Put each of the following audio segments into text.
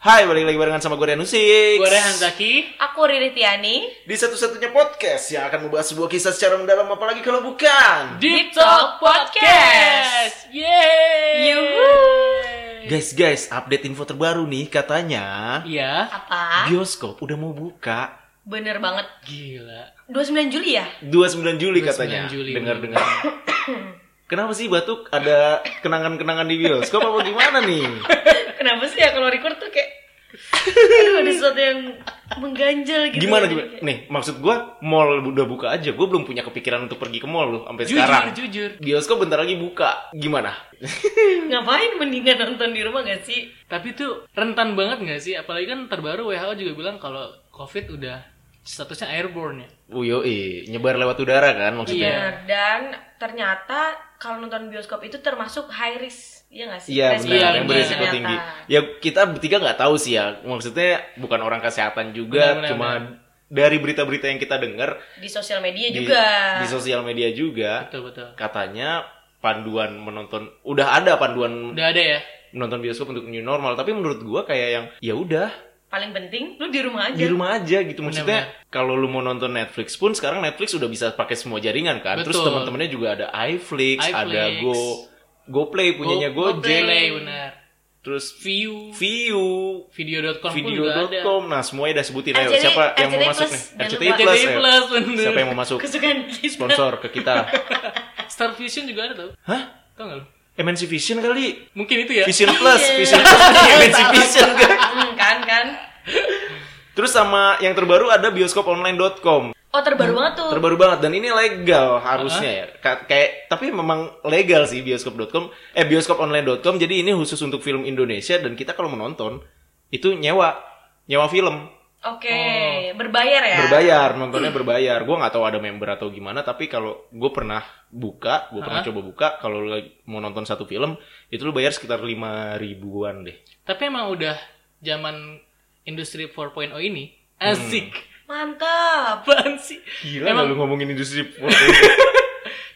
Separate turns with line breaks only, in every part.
Hai, balik lagi barengan sama gue Rian Usik.
Gue Rehan Zaki.
Aku Riri Tiani.
Di satu-satunya podcast yang akan membahas sebuah kisah secara mendalam apalagi kalau bukan.
Deep
Talk
Talk Podcast. Yeay.
Yuhu.
Guys, guys, update info terbaru nih katanya
Iya.
Apa?
bioskop udah mau buka
Bener banget.
Gila.
29 Juli ya?
29 Juli
29
katanya.
Juli.
Dengar-dengar. Kenapa sih Batuk ada kenangan-kenangan di bioskop apa gimana nih?
Kenapa sih ya kalau record tuh kayak Aduh, ada sesuatu yang mengganjal gitu.
Gimana
ya.
gimana? Nih, maksud gue mall udah buka aja. Gue belum punya kepikiran untuk pergi ke mall loh sampai
Jujur,
sekarang.
jujur.
Bioskop bentar lagi buka. Gimana?
Ngapain mendingan nonton di rumah gak sih?
Tapi tuh rentan banget nggak sih? Apalagi kan terbaru WHO juga bilang kalau COVID udah statusnya airborne ya.
Uyoi, nyebar lewat udara kan maksudnya.
Iya.
Bener. Dan ternyata kalau nonton bioskop itu termasuk high risk. Iya gak sih?
Iya
Resiko
benar, yang
tinggi
berisiko
ternyata.
tinggi. Ya kita bertiga nggak tahu sih ya, maksudnya bukan orang kesehatan juga,
Benar, benar,
cuma dari berita-berita yang kita dengar
Di sosial media
di,
juga.
di sosial media juga,
Betul betul.
katanya panduan menonton udah ada panduan
Udah ada ya.
menonton bioskop untuk new normal, tapi menurut gua kayak yang ya udah
Paling penting lu di rumah aja.
di rumah aja gitu maksudnya kalau lu mau nonton Netflix pun sekarang Netflix udah bisa pakai semua jaringan kan terus
Betul.
teman-temannya juga ada iFlix, ada
iFlix.
Go GoPlay punyanya Gojek
Go- GoPlay, benar.
terus
View.
View
Video.com pun juga ada.
video.com nah semuanya udah sebutin ayo
RCTI
siapa yang mau
plus,
masuk nih
jangan
RCTI
lupa.
plus,
RCTI
ayo.
plus, bener.
siapa yang mau masuk
Kesukaan kita.
sponsor ke kita
Star Vision juga ada tau.
hah
Tau nggak lu?
MNC Vision kali
Mungkin itu ya.
Vision Plus
Iya.
Vision Plus punya MNC Vision kan
Hmm, kan kan.
terus sama yang terbaru ada bioskoponline.com
Oh
Hmm.
terbaru banget tuh.
terbaru banget dan ini legal harusnya ya Ka- kayak tapi memang legal sih bioskop.com eh bioskoponline.com jadi ini khusus untuk film Indonesia dan kita kalau menonton itu nyewa nyewa film
Oke, berbayar ya?
Oh. berbayar nontonnya berbayar gue nggak tahu ada member atau gimana tapi kalau gue pernah buka gue pernah
Hah?
coba buka kalau lu lagi mau nonton satu film itu lu bayar sekitar lima ribuan deh
Tapi emang udah zaman industri 4.0 ini
Hmm.
asik.
Mantap.
Apaan sih?
gila
Emang-
lu ngomongin industri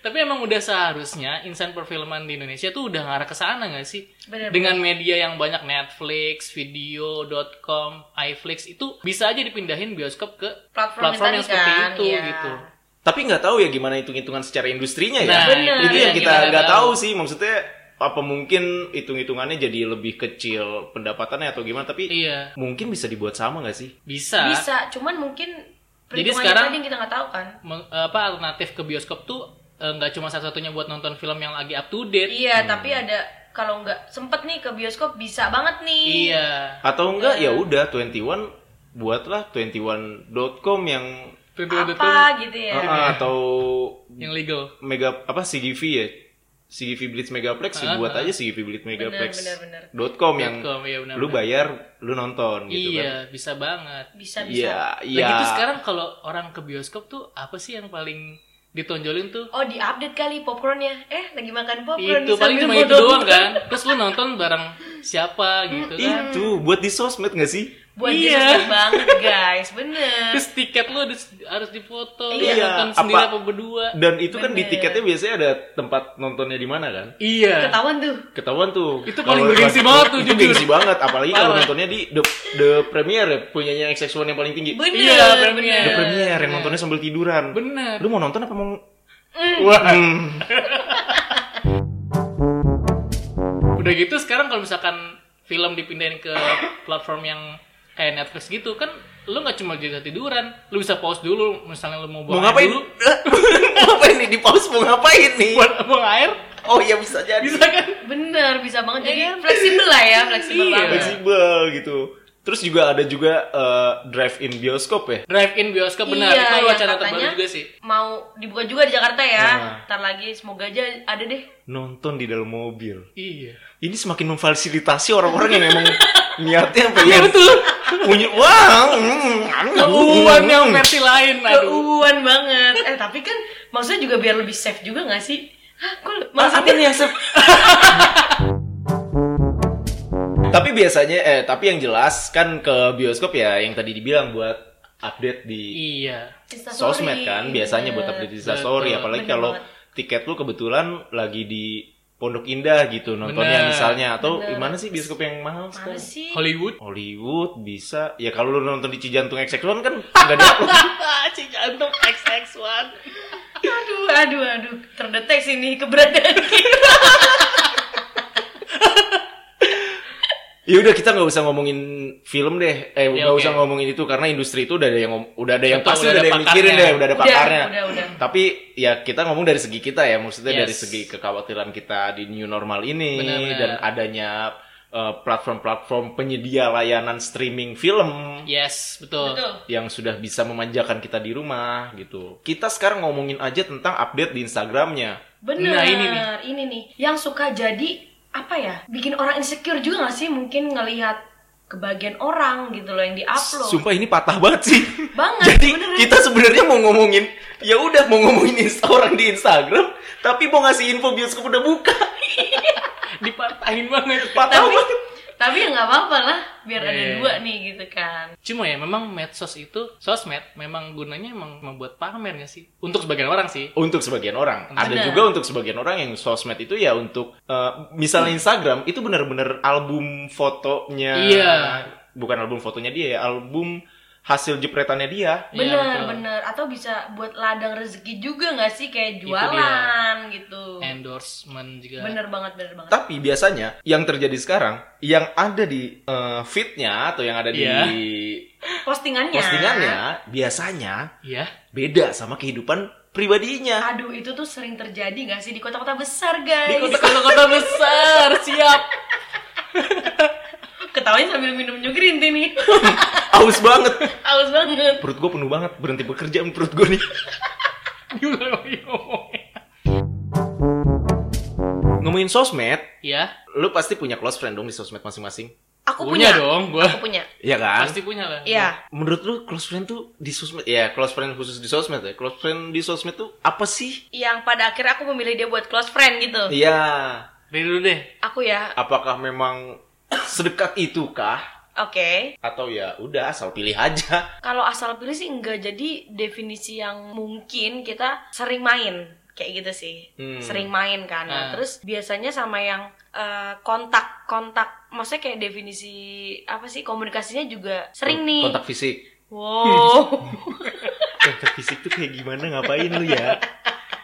Tapi emang udah seharusnya insan perfilman di Indonesia tuh udah ngarah ke sana nggak sih?
Bener,
Dengan media yang banyak Netflix, video.com, iFlix itu bisa aja dipindahin bioskop ke
Platform
platform,
yang
yang
tadi
seperti
kan,
itu
iya.
gitu.
tapi nggak tahu ya gimana hitung hitungan secara industrinya ya
Nah,
Bener.
itu yang
kita
kita nggak
nggak
tahu sih maksudnya apa mungkin hitung hitungannya jadi lebih kecil pendapatannya atau gimana tapi
Iya,
mungkin bisa dibuat sama nggak sih
bisa.
Bisa, cuman mungkin
Jadi
perhitungannya
sekarang-
tadi yang kita nggak tahu kan.
Meng- apa alternatif ke bioskop tuh eh, nggak cuma satu-satunya buat nonton film yang lagi up to date.
Iya, tapi ada kalau nggak sempet nih ke bioskop bisa banget nih.
Iya.
atau enggak ya udah 21 buatlah 21.com yang
Apa gitu
Iya.
Ah,
ya?
atau
yang legal.
mega apa CGV ya? CGV Blitz Megaplex ya,
Ah,
buat
ah.
aja CGV Blitz Megaplex.
benar, benar.
Dot com yang
Dot com, iya, benar,
lu
benar.
bayar, lu nonton gitu kan.
iya, bisa banget.
Bisa
Iya,
bisa.
iya.
Lagi tuh sekarang kalau orang ke bioskop tuh apa sih yang paling ditonjolin tuh?
Oh, di-update kali popcornnya. Eh, lagi makan popcorn.
itu
nih
paling
sambil
cuma
mau
itu doang
nonton.
kan terus lu nonton bareng siapa gitu
Iya.
kan
Itu buat di sosmed gak sih?
Buat
Iya.
iya. banget, guys. Bener.
terus tiket lu harus, harus difoto lu
Iya,
nonton
apa-
sendiri apa berdua
Dan itu kan di
Bener.
tiketnya biasanya ada tempat nontonnya di mana kan?
iya
Ketahuan tuh.
Ketahuan tuh.
Itu paling
Kalau-
gengsi banget tuh,
Itu
jujur.
gengsi banget apalagi kalau
Parah.
nontonnya di the, the premiere ya, punyanya XX1 yang paling tinggi.
Bener.
Iya, premier.
The
bener.
premiere yang nontonnya sambil tiduran.
bener Nah,
Lu mau nonton apa mau Wah, mm.
udah gitu sekarang kalau misalkan film dipindahin ke platform yang kayak Netflix gitu kan lu nggak cuma jadi tiduran lu bisa pause dulu misalnya lu mau
mau
buang
ngapain?
air dulu
mau ngapain nih di pause mau ngapain nih?
buang, buang air
Oh iya bisa jadi.
bisa kan
Bener, bisa banget. Jadi fleksibel lah ya, fleksibel
Iya.
banget.
Fleksibel gitu. Terus juga ada juga eh, drive-in bioskop ya.
drive in bioskop benar
Iya,
itu
yang
wacana
katanya
terbaru juga sih
Mau dibuka juga di Jakarta ya.
Nah.
Ntar lagi semoga aja ada deh.
Nonton di dalam mobil.
iya
Ini semakin memfasilitasi orang-orang yang emang niatnya
iya
pengen
betul
punya wah, mm,
keuuan yang versi lain aduh
Keuuan banget. Eh tapi kan maksudnya juga biar lebih safe juga gak sih? Hah, kok
Ah,
Apa
maksudnya
nih Asep? tapi biasanya eh tapi yang jelas kan ke bioskop ya yang tadi dibilang buat update di
Iya.
Instastory.
sosmed kan biasanya kan, buat update di story
Betul.
apalagi
Bener
kalau
banget.
tiket lu kebetulan lagi di Pondok Indah gitu nontonnya
Bener.
misalnya atau
Bener.
gimana sih bioskop yang mahal
Mana
sekarang?
sih?
Hollywood.
Hollywood bisa ya kalau lu nonton di Cijantung XX1 kan nggak ada upload.
Cijantung XX1.
Aduh, aduh, aduh. Terdeteksi nih keberadaan kita.
Ya udah kita nggak usah ngomongin film deh, eh nggak
Ya, oke.
usah ngomongin itu karena industri itu udah ada yang ngom- udah ada yang
Betul,
pasti
udah
udah ada
ada
yang mikirin
pakarnya. Iya,
deh, udah ada pakarnya.
Udah, udah, udah.
Tapi ya kita ngomong dari segi kita ya, maksudnya
Yes.
dari segi kekhawatiran kita di new normal ini
Benar-benar.
dan adanya eh, platform-platform penyedia layanan streaming film
Yes, betul.
Betul.
yang sudah bisa memanjakan kita di rumah gitu. Kita sekarang ngomongin aja tentang update di Instagramnya.
Bener.
Nah, ini
ini
nih.
nih. Yang suka jadi apa ya? Bikin orang insecure juga gak sih mungkin ngelihat kebagian orang gitu loh yang di-upload.
Sumpah ini patah banget sih.
Banget,
Jadi
beneran.
kita sebenarnya mau ngomongin ya udah mau ngomongin insta orang di Instagram, tapi mau ngasih info bioskop udah buka.
Dipatahin banget.
Patah
Tapi-
banget.
Tapi ya nggak apa-apa lah, biar ada
Iya.
dua nih gitu kan.
Cuma ya memang medsos itu sosmed memang gunanya emang membuat pamer nggak sih? Untuk sebagian orang sih.
Untuk sebagian orang, ada
Benar.
juga untuk sebagian orang yang sosmed itu ya untuk eh, misalnya Instagram itu benar-benar album fotonya.
Iya.
Bukan album fotonya dia ya, album hasil jepretannya dia.
Iya,
Bener,
betul.
bener. Atau bisa buat ladang rezeki juga gak sih? Kayak
Itu dia. Iya.
jualan gitu.
Endorsement juga.
Bener banget, bener banget.
Tapi biasanya yang terjadi sekarang, yang ada di eh, feednya atau yang ada di
Iya.
Postingannya.
postingannya biasanya
Iya.
beda sama kehidupan pribadinya.
Aduh, itu tuh sering terjadi gak sih di kota-kota besar, guys?
Di kota-kota besar, siap.
Ketawain sambil minum new green tea nih.
Aus banget.
Haus banget.
Perut gue penuh banget. Berhenti bekerja perut gue nih.
Diulang lagi ngomongnya.
Ngomongin sosmed,
Iya.
lu pasti punya close friend dong di sosmed masing-masing.
Aku
Punya
punya.
dong gua.
Aku punya.
Iya kan?
Pasti punya lah.
Iya.
Menurut lu close friend tuh di sosmed, ya close friend khusus di sosmed ya. Close friend di sosmed tuh apa sih?
Iya.
Yang pada akhirnya aku memilih dia buat close friend gitu.
Iya.
Dari dulu deh.
Aku ya,
Apakah memang sedekat itukah?
oke.
Atau ya udah asal pilih aja.
Kalau asal pilih sih enggak jadi definisi yang mungkin kita sering main kayak gitu sih.
Hmm.
Sering main kan.
Ah.
Nah, terus biasanya sama yang eh, kontak kontak maksudnya kayak definisi apa sih komunikasinya juga sering nih.
Kontak fisik.
Wow.
Kontak fisik tuh kayak gimana ngapain lu ya?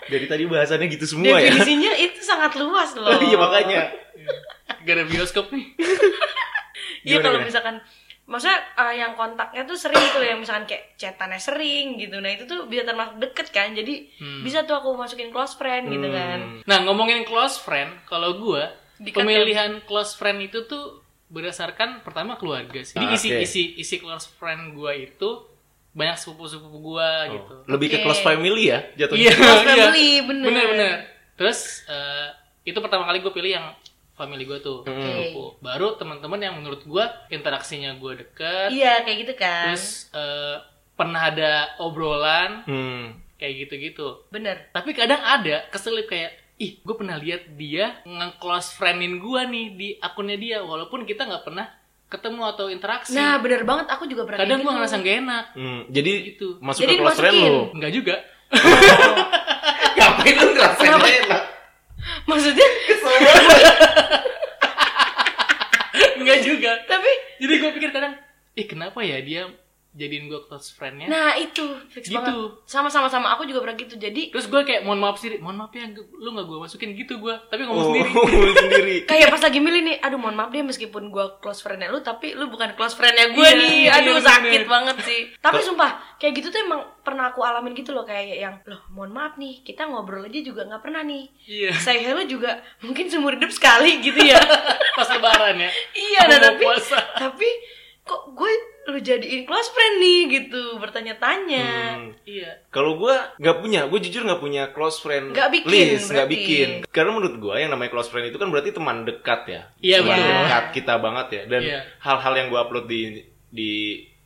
Dari tadi bahasannya gitu semua ya.
Definisinya itu sangat luas loh.
Iya makanya.
Gak ada bioskop nih.
Iya
Gimana,
kalau
gimana?
misalkan maksudnya eh, yang kontaknya tuh sering tuh yang misalkan kayak chatannya sering gitu. Nah, itu tuh bisa termasuk deket kan. Jadi
Hmm.
bisa tuh aku masukin close friend gitu
Hmm.
kan.
Nah, ngomongin close friend, kalau gua
Di KTM.
pemilihan close friend itu tuh berdasarkan pertama keluarga sih. Jadi
Ah,
isi
oke.
isi isi close friend gua itu banyak sepupu-sepupu gua
Oh,
gitu.
Lebih ke
Oke.
close family ya jatuhnya.
Iya,
Close
iya.
family, bener.
Bener, bener. Terus eh, itu pertama kali gue pilih yang family gua tuh.
Hmm.
sepupu. Baru teman-teman yang menurut gua interaksinya gua deket.
Iya, kayak gitu kan.
Terus eh, pernah ada obrolan
Hmm.
kayak gitu-gitu.
Bener.
Tapi kadang ada keselip kayak ih gue pernah lihat dia nge-close friendin gue nih di akunnya dia walaupun kita nggak pernah ketemu atau interaksi.
Nah, bener banget aku juga pernah
kadang gue
kayak gitu.
ngerasa gak enak.
Hmm, Jadi
Gitu.
masuk
Jadi
ke close friend
dimasukin.
lu.
Enggak juga.
Ngapain lu ngerasain
Kenapa?
enak?
Maksudnya
Enggak juga.
tapi
Jadi gue pikir kadang ih kenapa ya dia jadiin gue close friendnya.
nah itu fix
Ya. Gitu.
banget. Sama-sama sama aku juga pernah gitu. Jadi
Terus gue kayak mohon maaf sendiri, mohon maaf ya lu nggak gue masukin gitu gue, tapi
Oh,
ngomong sendiri.
ngomong sendiri.
kayak pas lagi milih nih, aduh mohon maaf deh meskipun gua close friendnya lu tapi lu bukan close friendnya gue
Iya,
nih,
iya,
aduh
bener.
sakit banget sih. Tapi sumpah kayak gitu tuh emang pernah aku alamin gitu loh kayak yang loh mohon maaf nih kita ngobrol aja juga nggak pernah nih.
Iya.
Saya hello juga mungkin seumur hidup sekali gitu ya.
Pas lebaran ya.
iya, nah,
Mau
tapi
puasa.
tapi kok gue lu jadiin close friend nih gitu bertanya-tanya.
Hmm.
Iya.
Kalau gua nggak punya, gue jujur nggak punya close friend
Nggak bikin,
list,
berarti.
nggak bikin. Karena menurut gua yang namanya close friend itu kan berarti teman dekat ya,
Iya,
teman
betul.
dekat kita banget ya. Dan
Iya.
hal-hal yang gua upload di di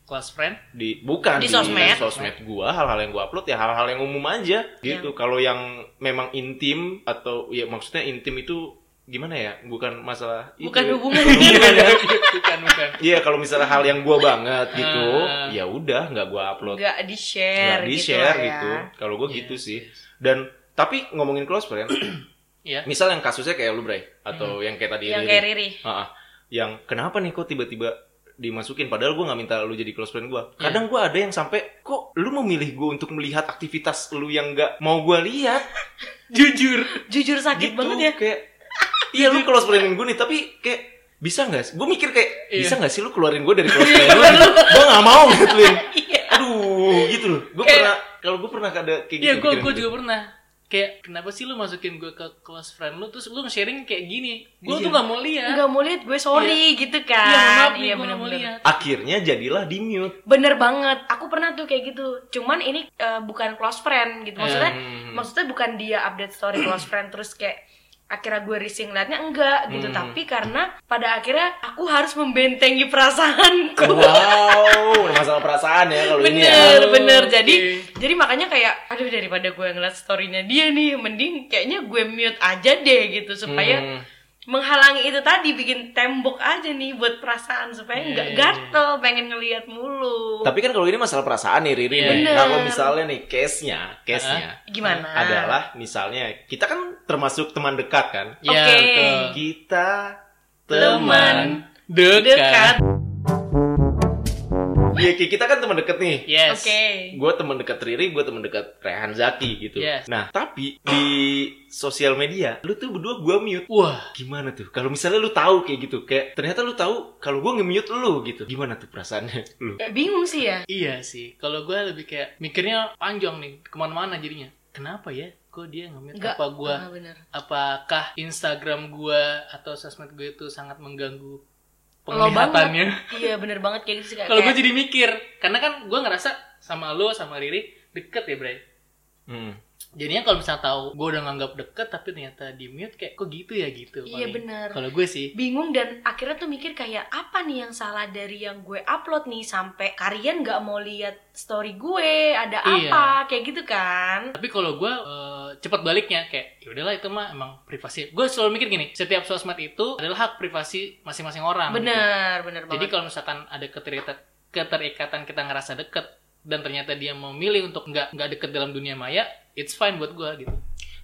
Close friend.
di bukan
Di sosmed.
sosmed gua hal-hal yang gua upload ya hal-hal yang umum aja gitu
Iya.
kalau yang memang intim atau ya maksudnya intim itu gimana ya bukan masalah itu
Bukan
ya.
hubungan
bukan, bukan, bukan.
iya kalau misalnya hal yang gua banget gitu
Ah.
ya udah nggak gua upload
nggak di
nggak
share gitu.
di share
lah ya.
gitu, kalau gua gitu
Yes,
sih dan tapi ngomongin close friend
Iya.
Misal yang kasusnya kayak lu, Bray, atau yang kayak tadi
Hmm. Yang
Riri.
Iya, kayak Riri.
Ah, ah. yang kenapa nih kok tiba-tiba dimasukin padahal gue nggak minta lu jadi close friend gue
Hmm.
kadang gue ada yang sampai kok lu memilih gue untuk melihat aktivitas lu yang nggak mau gue lihat
Jujur.
Jujur sakit
gitu
banget ya.
kayak iya lu close friendin gue nih tapi kayak bisa nggak gue mikir kayak
Iya.
bisa nggak sih lu keluarin gue dari
Iya,
close friend lu gue nggak mau gituin
Iya.
aduh gitu loh gue
Eh.
Kayak-
pernah kalau gue pernah ada kayak gitu
Iya, gue
pikiran
gue
gitu.
juga pernah. Kayak kenapa sih lu masukin gue ke close friend lu terus lu sharing kayak gini? Gue tuh gak mau lihat.
Enggak mau lihat gue sorry gitu kan.
Iya, maaf nih, gue
bener-bener.
gak mau lihat.
akhirnya jadilah di mute
Bener banget. Aku pernah tuh kayak gitu. Cuman ini eh, bukan close friend gitu. Maksudnya
Hmm,
maksudnya bukan dia update story close friend terus kayak akhirnya gue rising liatnya enggak gitu
Hmm.
tapi karena pada akhirnya aku harus membentengi perasaanku
wow masalah perasaan ya kalau ini ya
bener
Oh,
bener jadi
oke.
jadi makanya kayak aduh daripada gue ngeliat storynya dia nih mending kayaknya gue mute aja deh gitu supaya
Hmm.
menghalangi itu tadi bikin tembok aja nih buat perasaan supaya
Iya,
nggak gatel pengen ngeliat mulu
Tapi kan kalau ini masalah perasaan nih Riri
Iya.
nih.
Bener.
Nah, kalau misalnya nih case-nya, case-nya
gimana
adalah misalnya kita kan termasuk teman dekat kan?
Iya,
Oke.
betul.
Kita
Teman
teman.
Dekat.
dekat
Iya, Ki, kita kan teman dekat nih.
Yes.
oke
Gue teman dekat Riri, gue teman dekat Rehan Zaki gitu.
Yes.
Nah, tapi di sosial media, lu tuh berdua gue mute.
Wah,
Gimana tuh? Kalau misalnya lu tahu kayak gitu, kayak ternyata lu tahu kalau gue nge-mute lu gitu. Gimana tuh perasaannya lu?
bingung sih ya
iya sih. Kalau gue lebih kayak mikirnya panjang nih, kemana-mana jadinya. Kenapa ya? Kok dia nge-mute?
Nggak.
Apa gue?
Ah, bener.
Apakah Instagram gue atau sosmed gue itu sangat mengganggu
Lo
penglihatannya?
iya bener banget kayak gitu sih kayak,
Kalau gue jadi mikir, karena kan gue ngerasa sama lo sama Riri deket ya Bray.
Hmm.
Jadinya kalau misalnya tahu gue udah nganggap deket tapi ternyata di mute kayak kok gitu ya gitu.
Iya,
paling.
benar.
Kalau gue sih,
bingung dan akhirnya tuh mikir kayak apa nih yang salah dari yang gue upload nih sampai kalian nggak mau lihat story gue ada
Iya.
apa kayak gitu kan
tapi kalau gue eh, cepet baliknya kayak ya udahlah itu mah emang privasi. Gue selalu mikir gini, setiap sosmed itu adalah hak privasi masing-masing orang. gitu.
bener bener banget
Jadi kalau misalkan ada keterikatan, keterikatan kita ngerasa deket dan ternyata dia memilih untuk nggak nggak deket dalam dunia maya, it's fine buat gue gitu.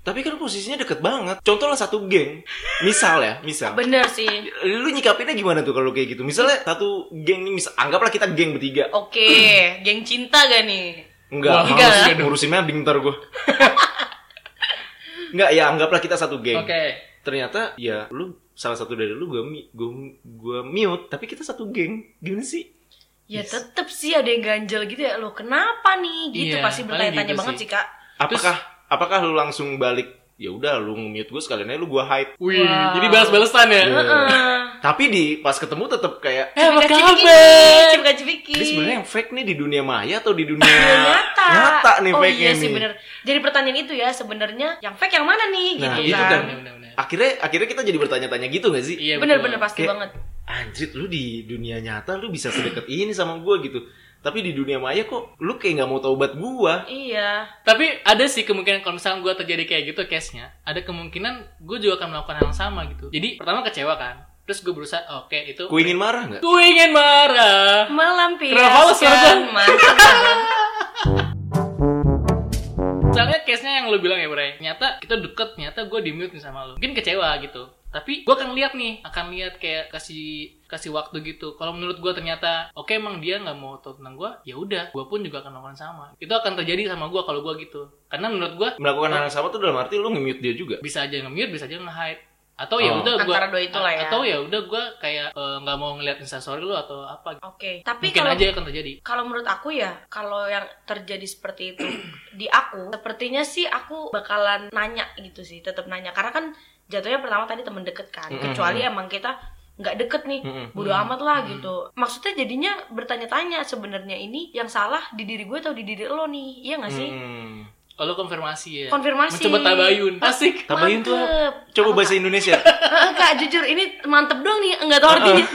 Tapi kan posisinya deket banget. Contohlah satu geng. Misal ya, misal.
bener sih
lu nyikapinnya gimana tuh kalau kayak gitu? Misalnya satu geng nih, misal, anggaplah kita geng bertiga.
oke geng cinta gak nih
Enggak,
Wah,
males
enggak.
juga ngurusin mending ntar gue. Enggak, ya anggaplah kita satu geng.
Oke.
Ternyata ya lu salah satu dari lu gue gua, gua mute, tapi kita satu geng. Gimana sih?
ya tetep sih ada yang ganjel gitu ya lo kenapa nih gitu
Iya,
pasti
paling
bertanya-tanya
gitu
banget
sih.
sih kak
Apakah apakah lu langsung balik? Ya udah lu mute gue sekalian aja lu gua hide.
Wih,
Wow.
jadi balas-balasan ya.
Heeh.
Tapi di pas ketemu tetap kayak
Eh, apa
Cipika-cipiki,
kabar?
cipika-cipiki.
ini sebenarnya yang fake nih di dunia maya atau di dunia
Iya. Dunia Iya, nyata.
nyata nih
oh,
fake
iya
nih.
sih bener. Jadi pertanyaan itu ya sebenarnya yang fake yang mana nih
Nah,
gitu
Iya,
itu
kan.
kan.
Bener-bener.
Akhirnya akhirnya kita jadi bertanya-tanya gitu gak sih?
Iya,
Bener-bener
betul.
pasti
Kayak-
banget.
anjir lu di dunia nyata lu bisa sedekat ini sama gue gitu tapi di dunia maya kok lu kayak nggak mau taubat gue
Iya.
Tapi ada sih kemungkinan kalau misalnya gue terjadi kayak gitu case-nya, ada kemungkinan gue juga akan melakukan hal yang sama gitu. Jadi pertama kecewa kan, terus gue berusaha, oke itu,
ku ingin marah nggak
gue ingin marah. Kenapa lu
Melampiaskan
serban?
mantap banget.
Misalnya case-nya yang lo bilang ya Bray, nyata kita deket, nyata gue di mute nih sama lo. Mungkin kecewa gitu. Tapi gue akan lihat nih, akan lihat kayak kasih kasih waktu gitu. Kalau menurut gue ternyata oke emang dia nggak mau tahu tentang gue, ya udah, gue pun juga akan melakukan sama. Itu akan terjadi sama gue kalau gue gitu. Karena menurut gue
melakukan hal yang sama tuh dalam arti lu nge-mute dia juga
bisa aja nge-mute, bisa aja nge-hide. Atau ya
Oh.
udah gua
Antara dua itu lah ya.
Atau ya udah gua kayak eh, nggak mau ngeliat instastory lu atau apa.
Oke. Tapi
Mungkin
kalau
aja akan terjadi.
kalau menurut aku ya, kalau yang terjadi seperti itu di aku, sepertinya sih aku bakalan nanya gitu sih, tetap nanya. Karena kan jatuhnya pertama tadi temen deket kan,
Mm-mm.
kecuali emang kita nggak deket nih,
Mm-mm.
bodo amat lah gitu. Maksudnya jadinya bertanya-tanya sebenarnya ini yang salah di diri gue atau di diri lo nih, iya nggak sih?
Hmm.
Kalau konfirmasi ya.
Konfirmasi.
Mencoba tabayun. Asik.
tambahin tuh
Mantep.
coba bahasa Indonesia
Eh, Kak jujur ini mantep doang nih, nggak tahu artinya.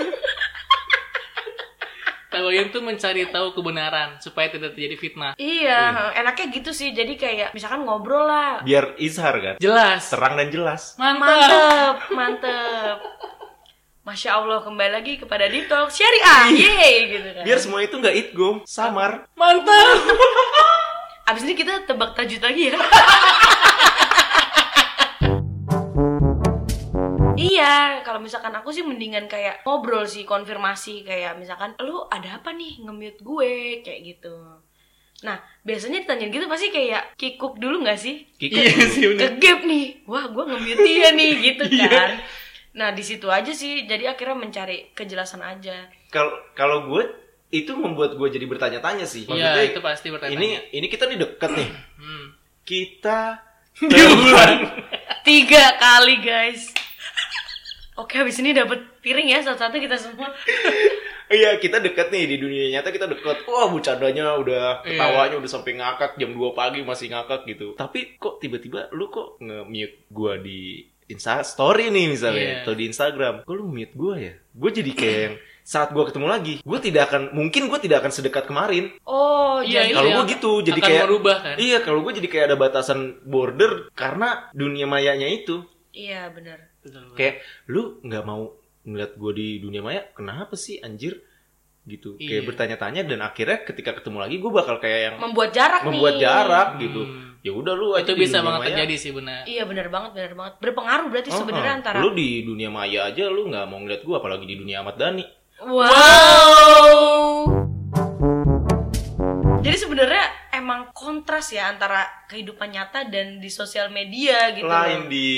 Tabayun tuh mencari tahu kebenaran supaya tidak terjadi fitnah.
Iya, enaknya gitu sih. Jadi kayak misalkan ngobrol lah.
biar izhar kan
Jelas.
terang dan jelas
Mantap.
Mantep, mantep. Masya Allah kembali lagi kepada Dito Syariah, yeay gitu kan.
biar semua itu nggak itgum samar
Mantap.
Abis ini kita tebak tajud lagi ya. Iya, kalau misalkan aku sih mendingan kayak ngobrol sih, konfirmasi kayak misalkan lu ada apa nih nge-mute gue kayak gitu. Nah, biasanya ditanyain gitu pasti kayak kikuk dulu gak sih?
Kikuk
Iya
dulu.
sih bener.
Kegep nih. Wah, gue nge-mute dia nih gitu
Iya.
kan. Nah, di situ aja sih jadi akhirnya mencari kejelasan aja.
Kalau kalau gue itu membuat gue jadi bertanya-tanya sih.
Iya, itu pasti bertanya.
Ini ini kita nih deket nih.
Hmm.
Kita bulan.
Tiga kali, guys. Oke, habis ini dapat piring ya satu-satu kita semua.
Iya, kita deket nih di dunia nyata kita deket. Wah, bercandanya udah
Iya.
ketawanya udah sampai ngakak jam 2 pagi masih ngakak gitu. Tapi kok tiba-tiba lu kok nge-mute gua di Insta story nih misalnya
Iya.
atau di Instagram. Kok lu mute gua ya? Gue jadi kayak yang saat gua ketemu lagi, gue tidak akan mungkin gue tidak akan sedekat kemarin.
Oh,
Iya,
jadi
itu
Kalau
yang
gua gitu, jadi
akan
kayak-
merubah kan.
Iya, kalau gue jadi kayak ada batasan border karena dunia mayanya itu.
Hmm.
iya benar.
Betul, betul.
Kayak lu nggak mau ngeliat gue di dunia maya, kenapa sih anjir? Gitu. Kayak
Iya.
bertanya-tanya dan akhirnya ketika ketemu lagi gue bakal kayak yang
Membuat jarak
membuat
nih.
jarak gitu.
Hmm.
Ya udah lu aja
itu
di
bisa
dunia
banget
maya.
terjadi sih benar.
Iya benar banget, benar banget. Berpengaruh berarti
Oh,
sebenarnya
oh.
antara
lu di dunia maya aja lu nggak mau ngeliat gue apalagi di dunia Ahmad Dhani.
Wow. Jadi sebenarnya emang kontras ya antara kehidupan nyata dan di sosial media gitu.
Lain di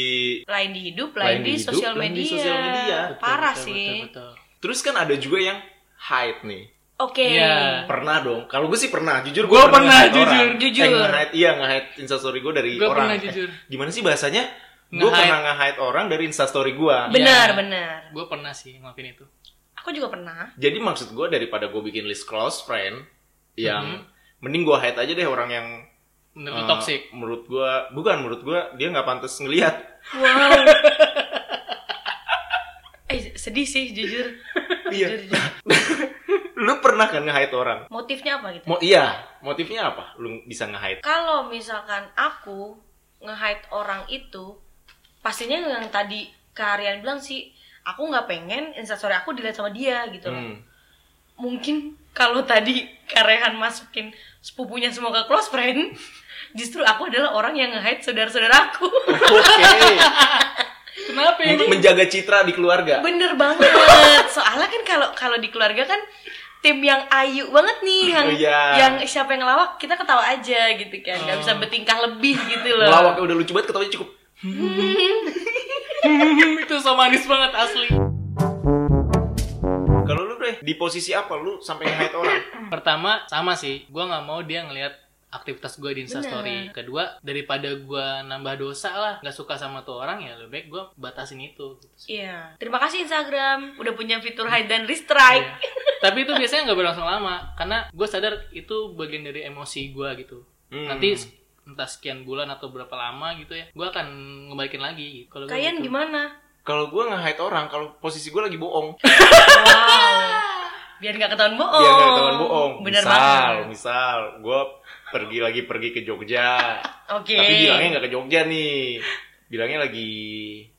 lain di hidup, lain, di, sosial
lain
media.
di sosial media.
Betul,
Parah
betul,
sih.
Betul, betul.
Terus kan ada juga yang hide nih.
Oke.
Iya.
Pernah dong. Kalau gue sih pernah, jujur
Gua pernah,
nge-hide
jujur,
orang.
jujur.
Eh, nge-hide, iya nge-hide instastory gue dari
Gua
orang.
pernah,
Eh,
jujur.
gimana sih bahasanya? Gue
Nge-hide.
pernah nge-hide orang dari instastory gue.
Benar,
Iya.
benar.
Gue pernah sih ngelakuin itu.
Aku juga pernah.
Jadi maksud gue daripada gue bikin list close friend yang mending gue hide aja deh orang yang
Menurut
eh,
Mm-hmm. toxic.
Menurut gue bukan menurut gue dia nggak pantas ngelihat.
Wow. eh sedih sih jujur.
Iya.
Jujur, jujur.
Lu pernah kan nge-hide orang?
Motifnya apa gitu?
Mo iya, motifnya apa? Lu bisa nge-hide.
kalau misalkan aku nge-hide orang itu pastinya yang tadi keharian bilang sih aku nggak pengen instastory aku dilihat sama dia gitu loh.
Hmm.
mungkin kalau tadi Karehan masukin sepupunya semua ke close friend justru aku adalah orang yang nge-hide saudara-saudaraku
Oke.
Kenapa ya?
Men- Menjaga citra di keluarga.
bener banget soalnya kan kalau kalau di keluarga kan tim yang ayu banget nih yang
Oh, iya. Oh.
yang siapa yang ngelawak kita ketawa aja gitu kan nggak bisa bertingkah lebih gitu loh
Melawaknya udah lucu banget ketawanya cukup.
itu so manis banget asli.
Kalau lu deh di posisi apa lu sampai nge-hide orang?
Pertama sama sih, gue nggak mau dia ngelihat aktivitas gue di Instastory. Kedua, daripada gue nambah dosa lah, nggak suka sama tuh orang ya, lebih baik gue batasin itu. Gitu sih.
Iya. Terima kasih Instagram udah punya fitur hide dan restrike.
Iya. Tapi itu biasanya nggak berlangsung lama, karena gue sadar itu bagian dari emosi gue gitu.
Hmm.
Nanti entah sekian bulan atau berapa lama gitu ya, gue akan ngebalikin lagi. Kalau
Iya.
gua
Kalian
gitu.
gimana?
Kalau gue nge-hide orang, kalau posisi gue lagi bohong,
Wow. Biar nggak ketahuan bohong.
biar nggak ketahuan bohong.
Oh, Bener
misal,
banget.
misal gue pergi lagi pergi ke Jogja,
Oke.
tapi bilangnya nggak ke Jogja nih, bilangnya lagi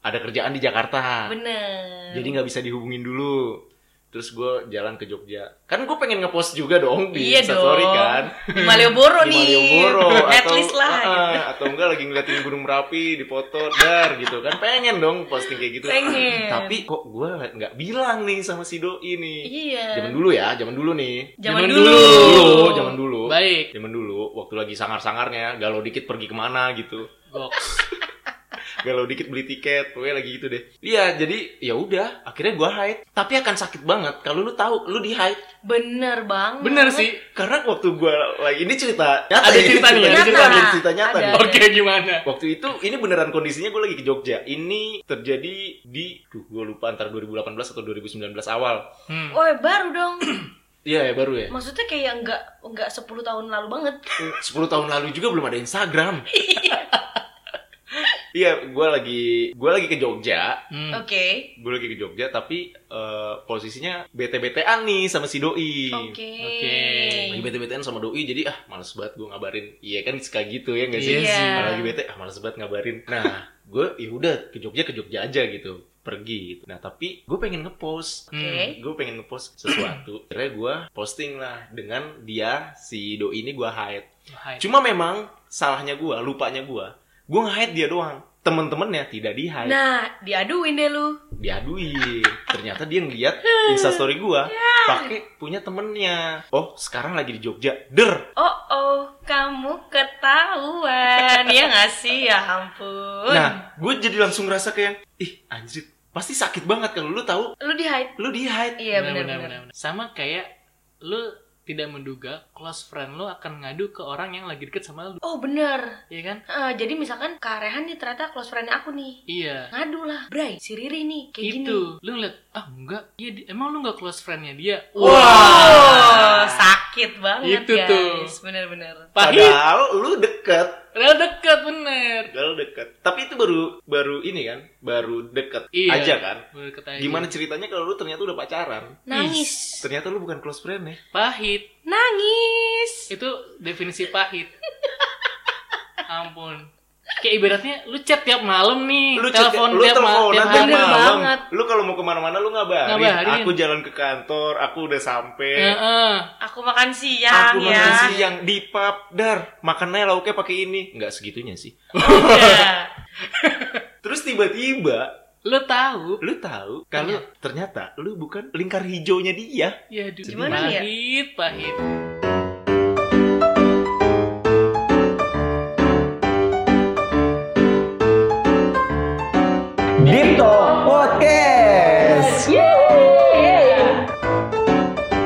ada kerjaan di Jakarta,
Bener.
jadi nggak bisa dihubungin dulu. Terus gue jalan ke Jogja, kan gue pengen ngepost juga dong di
iya dong.
Instastory kan.
Di Malioboro
Di
nih.
Malioboro
At
atau,
least lah.
Ah,
gitu.
ah, atau enggak lagi ngeliatin Gunung Merapi di foto dar gitu kan pengen dong posting kayak gitu
Pengen.
tapi kok gue nggak bilang nih sama si doi nih
Iya.
Zaman dulu ya, zaman dulu nih.
Zaman
Zaman dulu.
dulu.
Dulu, zaman dulu.
Baik.
Zaman dulu, waktu lagi sangar-sangarnya, galau dikit pergi kemana gitu.
Goks.
Galau dikit beli tiket, pokoknya lagi gitu deh. Iya, jadi ya udah, akhirnya gua hide. Tapi akan sakit banget kalau lu tahu lu di hide.
Bener banget.
Bener sih.
Karena waktu gua lagi ini cerita nyata. ya.
Ada
ini.
cerita nih, ada
cerita,
cerita.
ada cerita nyata.
Ada.
nih.
Oke gimana?
Waktu itu ini beneran kondisinya gue lagi ke Jogja. Ini terjadi di duh gue lupa antara 2018 atau 2019 awal.
Hmm.
Woi baru dong.
Iya ya baru ya.
Maksudnya kayak nggak nggak 10 tahun lalu banget.
10 tahun lalu juga belum ada Instagram. Iya, gue lagi gue lagi ke Jogja,
Hmm.
Oke.
gue lagi ke Jogja, tapi eh, posisinya bete-betean nih sama si doi.
Oke.
Oke.
Lagi bete-betean sama doi, jadi ah males banget gue ngabarin. Iya kan suka gitu ya nggak sih?
Iya
sih.
Kalau lagi bete, ah males banget ngabarin. Nah, gue ya udah ke Jogja ke Jogja aja gitu, pergi. Gitu. Nah tapi gue pengen ngepost.
Oke.
Gue pengen ngepost sesuatu. Akhirnya gue posting lah dengan dia si doi ini gue hide.
Hai.
Cuma memang salahnya gua, lupanya gua, gua nge-hide dia doang. temen-temennya tidak di hide
Nah, diaduin deh lu.
diaduin ternyata dia ngeliat instastory gua
Iya.
pakai punya temennya oh sekarang lagi di Jogja der
Oh oh, kamu ketahuan. Iya gak sih? Ya
Oh,
ampun.
nah
iya.
gue jadi langsung ngerasa kayak ih anjir pasti sakit banget kalau lu tahu
Lu di hide.
lu di hide
Iya
Benar, benar,
benar-benar.
benar. Sama kayak lu tidak menduga close friend lu akan ngadu ke orang yang lagi deket sama lu,
Oh bener.
iya kan?
Eh, jadi misalkan Kak Rehan nih ternyata close friend aku nih.
Iya.
Ngadu lah. Bray, si Riri nih. Kayak gini.
Itu, lu ngeliat, ah enggak, Iya, di- emang lu nggak close friendnya dia?
Wah.
Wow, sakit banget
Itu
guys.
tuh.
Bener-bener.
Pahit,
padahal lu deket
padahal deket bener.
padahal deket tapi itu baru baru ini kan baru deket
Iya.
aja kan
Baru deket aja.
gimana ceritanya kalau lu ternyata udah pacaran
Nangis.
ternyata lu bukan close friend ya
Pahit.
Nangis.
Itu definisi pahit. Ampun. Kayak ibaratnya lu chat tiap malam nih,
lu chat- lu
telepon tiap, ma-
teleponan
tiap
tiap
hari.
Bener
malam.
banget.
lu kalau mau kemana-mana lu ngabarin.
Ngabarin.
aku jalan ke kantor aku udah sampai
Heeh.
Aku makan
Eh,
siang
aku
ya.
makan siang di pub dar makannya lauknya pakai ini nggak segitunya sih
Iya.
terus tiba-tiba
Lu tahu?
lu tahu kalau ternyata lu bukan lingkar hijaunya dia
Ya, aduh,
Gimana
nih ya?
pahit, pahit.
Deep Talk
Iya.